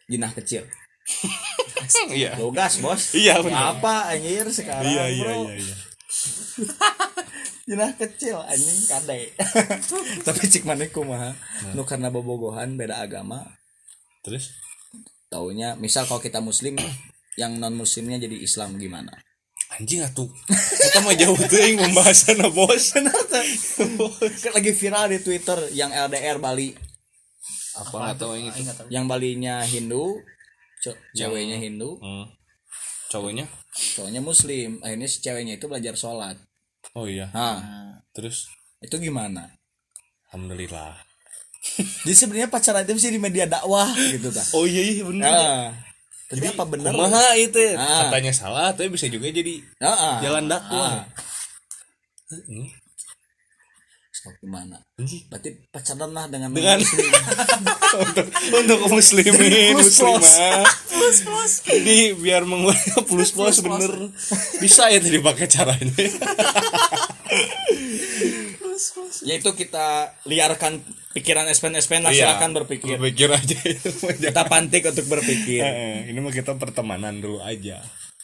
jinah kecil
[LAUGHS] iya
logas bos
[LAUGHS] Iya, benar.
apa anjir sekarang
iya iya
bro?
iya iya
Jenah kecil anjing kade. [LAUGHS] Tapi cik maneh
Nah.
kumaha? Nu karena bobogohan beda agama,
terus
taunya misal kalau kita muslim yang non muslimnya jadi Islam gimana?
[LAUGHS] anjing atuh kita mah jauh tuh yang pembahasan nah, [LAUGHS] bos
Kan lagi viral di Twitter yang LDR Bali,
apa atau yang itu
Enggak tahu.
yang Balinya Hindu, ce- ceweknya Hindu,
hmm. cowoknya
cowoknya muslim. Akhirnya si ceweknya itu belajar sholat.
oh iya
Nah,
terus
itu gimana?
alhamdulillah
Jadi sebenarnya pacaran itu sih di media dakwah gitu ta.
oh iya iya benar
Nah, tapi apa benar?
Kumaha itu
Ah.
katanya salah tapi bisa juga jadi
Nah,
jalan dakwah
Hmm?
Heeh.
gimana?
Anjing.
Berarti pacaran lah Hmm? dengan
dengan untuk untuk muslimin
[LAUGHS] Plus plus.
muslimah jadi biar
[LAUGHS]
mengurangi plus plus bener bisa ya tadi pakai caranya
yaitu kita liarkan pikiran espen-espen lah Nah, silakan berpikir
Iya. berpikir aja
Iya.
[LAUGHS]
kita pantik untuk berpikir
Eh, ini mah kita pertemanan dulu aja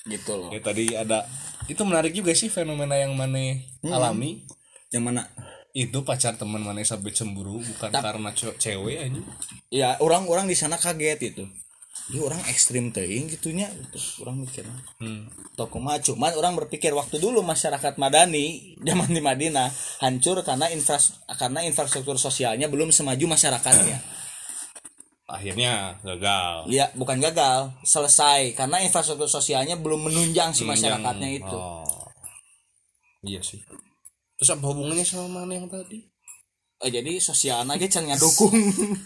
gitu loh
ya tadi ada itu menarik juga sih fenomena yang mana
Hmm.
alami
yang mana
itu pacar teman mana sampai cemburu bukan karena ce- cewek aja
ya orang-orang di sana kaget itu ini orang ekstrim teing gitunya gitu. orang mikir
Hmm.
toko mah cuman orang berpikir waktu dulu masyarakat Madani zaman di Madinah hancur karena infras karena infrastruktur sosialnya belum semaju masyarakatnya
akhirnya gagal
ya bukan gagal selesai karena infrastruktur sosialnya belum menunjang si masyarakatnya
Yang-
itu
oh. iya sih terus apa hubungannya sama mana yang tadi
Eh, jadi sosial aja can dukung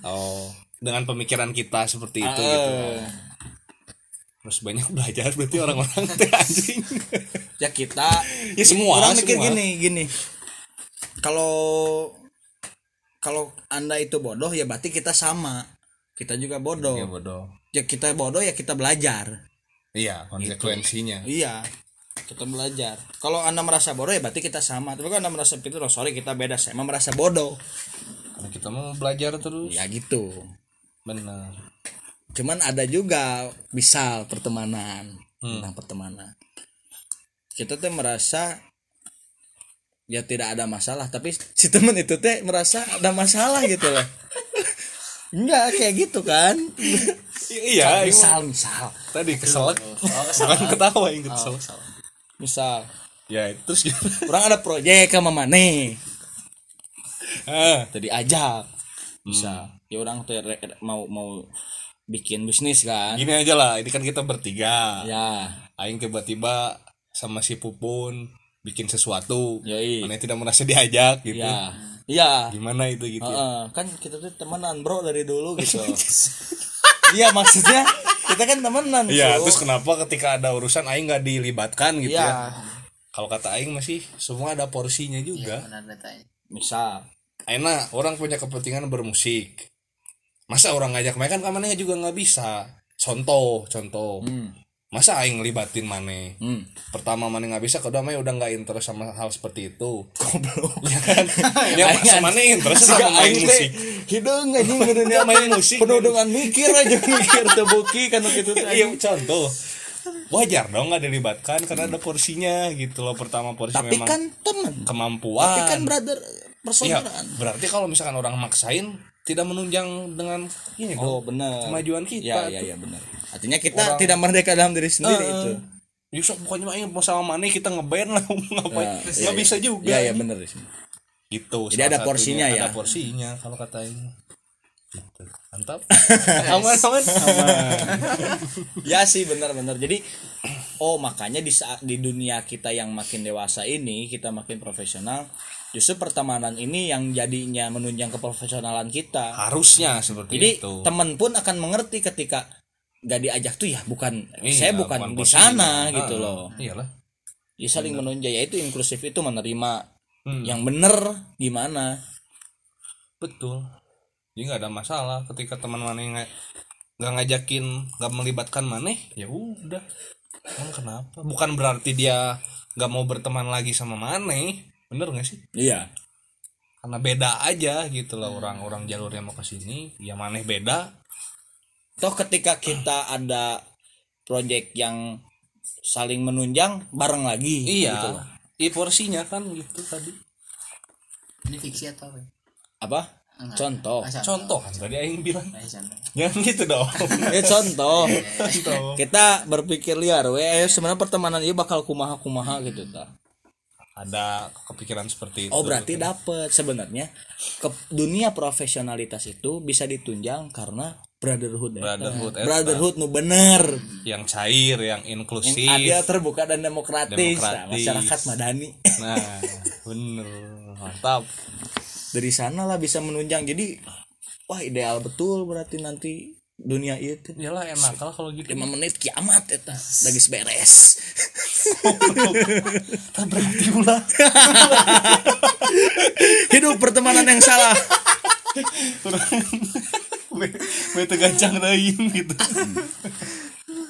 Oh, dengan pemikiran kita seperti itu gitu.
Eh,
Terus banyak belajar berarti orang-orang teh anjing.
[LAUGHS] ya kita
Ya semua,
orang mikir
semua.
gini gini kalau kalau anda itu bodoh ya berarti kita sama kita juga bodoh
Ya
ya,
bodoh.
kita bodoh ya kita belajar
Iya, konsekuensinya.
iya kita belajar kalau anda merasa bodoh ya berarti kita sama tapi kalau anda merasa pintar oh sorry kita beda saya emang merasa bodoh
Nah, kita mau belajar terus.
ya gitu
Benar.
cuman ada juga misal pertemanan tentang pertemanan kita tuh merasa ya tidak ada masalah tapi si temen itu teh merasa ada masalah gitu loh [LAUGHS] enggak kayak gitu kan
Iya, Oh, iya.
misal misal
Tadi keselak. Bukan ketawa yang keselak.
misal
Ya, terus gimana?
orang ada proyek sama mana
Ah,
tadi ajak bisa ya orang tuh re- re- mau mau bikin bisnis kan
Gini aja lah, ini kan kita bertiga.
ya
Aing tiba-tiba sama si Pupun bikin sesuatu.
Ya, Yoi.
Mana tidak merasa diajak gitu.
ya ya
Gimana itu gitu.
Heeh, kan kita tuh temenan bro dari
[LAUGHS]
dulu gitu iya maksudnya kita kan temenan
Iya,
Su.
terus kenapa ketika ada urusan aing nggak dilibatkan gitu
Iya.
ya? Kalau kata aing masih semua ada porsinya juga.
Iya, benar datanya
misal
Enak, orang punya kepentingan bermusik. Masa orang ngajak main kan kamarnya juga nggak bisa. Contoh, contoh.
Hmm.
Masa aing libatin mane? Pertama mane nggak bisa, kedua mane udah nggak interest sama hal seperti itu.
goblok
Ya
[LAUGHS]
kan? Yang masa mane interest sama main musik. Iya,
hidung aja ngedunia [LAUGHS]
main musik.
penuh dengan mikir aja [LAUGHS] mikir tebuki kan gitu tuh
Iya, contoh. Wajar dong nggak dilibatkan karena ada porsinya gitu loh. Pertama porsi
tapi
memang
kan temen
kemampuan.
tapi kan brother
Iya,
persaudaraan
berarti kalau misalkan orang maksain tidak menunjang dengan ini
oh
bro.
benar
Kemajuan kita tuh.
ya ya ya benar artinya kita tidak merdeka dalam diri sendiri itu
Yusuf pokoknya mah, iya, mau sama Mane kita ngeband lah [LAUGHS] mau ngapain?
Ya,
Nggak
iya, iya.
bisa juga.
ya ya benar di sini.
Gitu.
Jadi
salah
ada
satunya.
porsinya ya?
Ada porsinya kalau katanya.
[LAUGHS]
Mantap. aman aman.
ya sih benar-benar jadi oh makanya di saat di dunia kita yang makin dewasa ini kita makin profesional justru pertemanan ini yang jadinya menunjang keprofesionalan kita
Harusnya seperti
jadi
itu.
teman pun akan mengerti ketika gak diajak tuh ya bukan
Iya,
saya bukan, di
porsinya.
sana
Ah,
gitu loh
Iyalah.
ya saling menunjang ya itu inklusif itu menerima
Hmm.
yang bener gimana
Betul. Jadi nggak ada masalah ketika teman Mane nggak nggak ngajakin, nggak melibatkan Mane, ya udah. Emang kenapa? Bukan berarti dia nggak mau berteman lagi sama Mane, bener nggak sih?
iya
Karena beda aja gitu lah orang-orang jalurnya mau ke sini, ya Mane beda.
toh ketika kita ada project yang saling menunjang bareng lagi gitu loh.
Iya. Iya porsinya kan gitu tadi.
ini fiksi atau apa
apa Oh, contoh
Ah, contoh
Contoh kan tadi Aing bilang. [LAUGHS]
Ah, contoh.
Jangan gitu dong.
[LAUGHS] ya
[LAUGHS]
contoh
Contoh.
kita berpikir liar we eh, sebenarnya pertemanan ini bakal kumaha kumaha gitu ta
Ada kepikiran seperti itu.
oh berarti dapet sebenarnya ke dunia profesionalitas itu bisa ditunjang karena brotherhood eta.
Brotherhood eh, eta.
brotherhood nu bener
yang cair, yang inklusif.
yang adil terbuka dan demokratis,
Demokratis.
Nah, masyarakat madani [LAUGHS]
Nah, bener. Mantap.
dari sanalah bisa menunjang jadi wah ideal betul berarti nanti dunia itu
Iyalah enak lah kalau
[LAUGHS]
gitu.
5 menit kiamat eta lagi beres
berarti ulah.
[LAUGHS] hidup pertemanan yang salah
Weh tegacang lain gitu.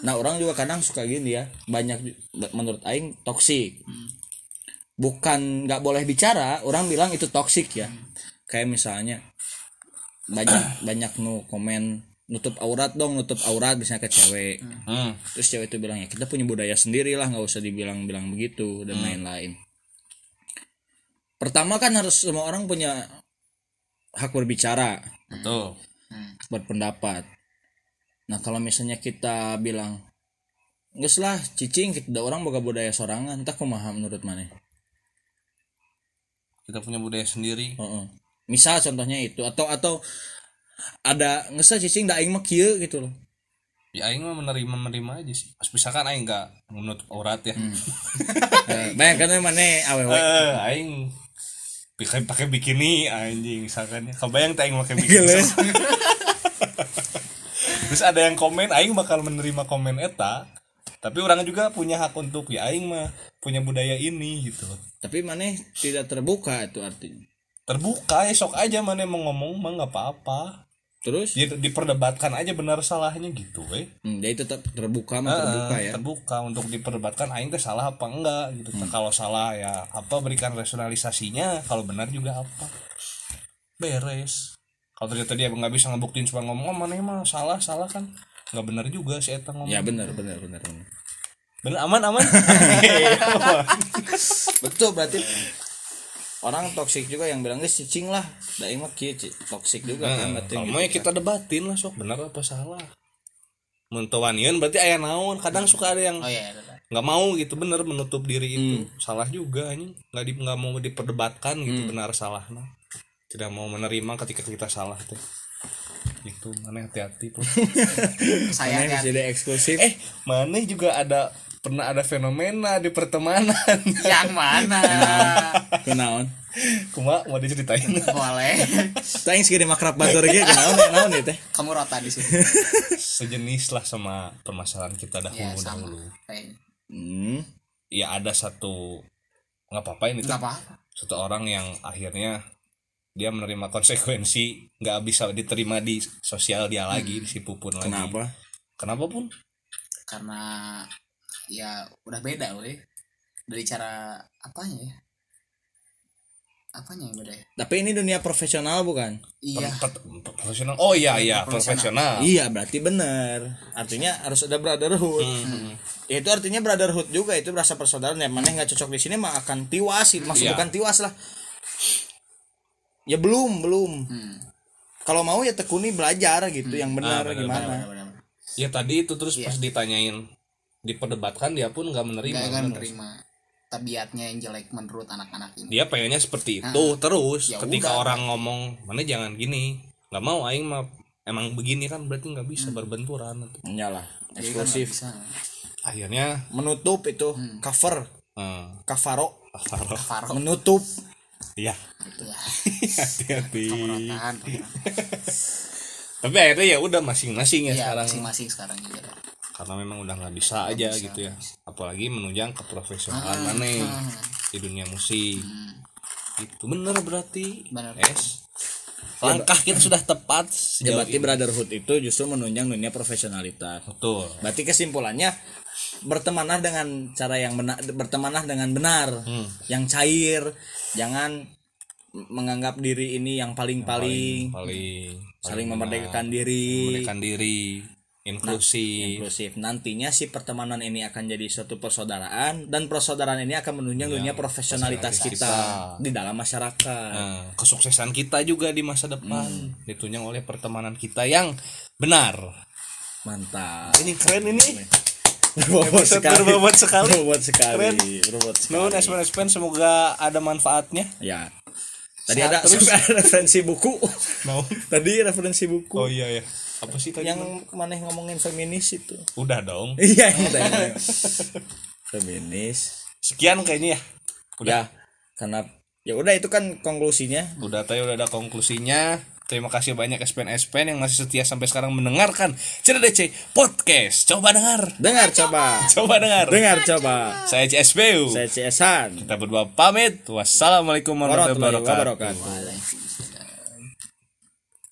nah orang juga kadang suka gini ya banyak ju- ba- menurut aing toksik bukan nggak boleh bicara orang bilang itu toksik ya kayak misalnya banyak banyak nu komen nutup aurat dong nutup aurat misalnya ke cewek
Hmm.
terus cewek itu bilang ya kita punya budaya sendiri lah nggak usah dibilang-bilang begitu dan lain-lain pertama kan harus semua orang punya hak berbicara
Betul.
berpendapat nah kalau misalnya kita bilang nggak lah cicing kita orang boga budaya sorangan entah kumaha menurut mana
Kita punya budaya sendiri.
Heeh. misal contohnya itu atau atau ada nggak usah cicing da aing mah kieu gitu loh
Ya aing mah menerima menerima aja sih. Pas misalkan aing enggak menutup aurat ya.
Eh, bayangkan mana awewe
Eh, [LAUGHS] aing pakai pakai bikini anjing misalkan ya. Kebayang tak aing pakai bikini.
Gila.
Terus ada yang komen aing bakal menerima komen eta. Tapi orang juga punya hak untuk ya aing mah punya budaya ini gitu loh.
tapi mana tidak terbuka itu artinya
terbuka esok aja mana mau ngomong mah nggak apa-apa
terus
Jadi diperdebatkan aja benar salahnya gitu weh
Hmm, jadi tetap terbuka mah terbuka
Eh,
ya. Hmm.
terbuka untuk diperdebatkan aing teh salah apa enggak gitu Nah, kalau salah ya apa berikan rasionalisasinya kalau benar juga apa beres kalau ternyata dia nggak bisa ngebuktiin cuma ngomong oh mana mah salah salah kan nggak benar juga si Eta ngomong
ya benar benar benar benar.
bener aman
[LAUGHS]
aman [LAUGHS]
betul berarti orang toksik juga yang bilang geus cicing lah da ieu mah kieu ci- toksik juga kan berarti
Namanya ya kita debatin lah sok benar apa salah mentawanian berarti ayah naon kadang suka ada yang
oh iya iya, iya.
nggak mau gitu bener menutup diri itu salah juga anjing nggak di nggak mau diperdebatkan gitu benar salahnya tidak mau menerima ketika kita salah tuh itu mana hati-hati tuh
saya
Ini
kan
jadi eksklusif
[LAUGHS] eh mana juga ada pernah ada fenomena di pertemanan [LAUGHS]
yang mana
kenaon
kuma mau diceritain
boleh
tah geus gede makrab gitu, batur ge kenaon kenaon ieu ya, teh
kamu rota di sini
sejenis lah sama permasalahan kita
ya
dahulu
sama
dahulu
kayaknya
hmm
ya ada satu nggak apa-apa ini
nggak apa
satu orang yang akhirnya dia menerima konsekuensi nggak bisa diterima di sosial dia
Hmm.
lagi di si pupun lagi
kenapa
kenapa pun
karena ya udah beda weh dari cara apanya ya apanya yang beda ya
tapi ini dunia profesional bukan
iya
Per- per- profesional oh iya iya profesional
iya berarti benar artinya harus ada brotherhood
Hmm,
Ya, itu artinya brotherhood juga itu berasa persaudaraan yang mana yang nggak cocok di sini mah akan tiwas
Iya.
maksud bukan tiwas lah ya belum belum
Hmm.
kalau mau ya tekuni belajar gitu yang benar
Hmm. Ah, benar,
gimana
benar-benar
ya tadi itu terus
Iya.
pas ditanyain diperdebatkan dia pun nggak menerima
nggak akan
bener.
menerima tabiatnya yang jelek menurut anak-anak ini
dia pengennya seperti itu terus
Ah. Ya
ketika
udah.
orang ngomong mana jangan gini nggak mau aing mah emang begini kan berarti nggak bisa
Hmm.
berbenturan
Iyalah,
Jadi kan nggak
Iya eksklusif
bisa
akhirnya
menutup itu
Hmm.
cover
eh, [LAUGHS]
kafaro
taruh.
Faro
menutup
iya
ya
hati-hati
rotaan
tapi akhirnya ya udah masing-masing ya,
ya
sekarang
masing-masing sekarang juga
karena memang udah nggak bisa Ah, aja gitu ya apalagi menunjang ke profesional maneh di dunia musik itu Hmm. bener berarti
Bener.
es langkah kita sudah tepat sejauh
ya berarti
ini
brotherhood itu justru menunjang dunia profesionalitas
betul
berarti kesimpulannya bertemanlah dengan cara yang benar bertemanlah dengan benar
Hmm.
yang cair jangan menganggap diri ini yang paling-paling
paling
saling memerdekakan diri
memerdekakan diri Nah, inklusi
inklusif nantinya si pertemanan ini akan jadi suatu persaudaraan dan persaudaraan ini akan menunjang dunia profesionalitas kita,
profesionalitas
di dalam masyarakat
Nah, kesuksesan kita juga di masa depan ditunjang oleh pertemanan kita yang benar
mantap
ini keren ini
berbobot
Episode [LAUGHS] berbobot sekali.
berbobot sekali
Keren.
berbobot sekali.
Nuhun Espen Espen semoga ada manfaatnya.
ya tadi
Sehat
ada
terus.
sampai ada [LAUGHS] referensi buku
Mau.
tadi referensi buku
Oh iya ya. Apa sih tadi?
yang maneh ngomongin feminis
[LAUGHS]
itu
udah dong.
iya yang tadi. feminis
Sekian kayaknya ya. Udah.
ya karena ya udah itu kan konklusinya
Udah tadi udah ada konklusinya. Terima kasih banyak Espen Espen yang masih setia sampai sekarang mendengarkan CDC podcast. Coba dengar.
dengar coba
Coba dengar.
dengar coba
Saya CSBU.
saya CSan
Kita berdua pamit. Wassalamualaikum warahmatullahi
warahmatullahi
wabarakatuh.
wabarakatuh
ada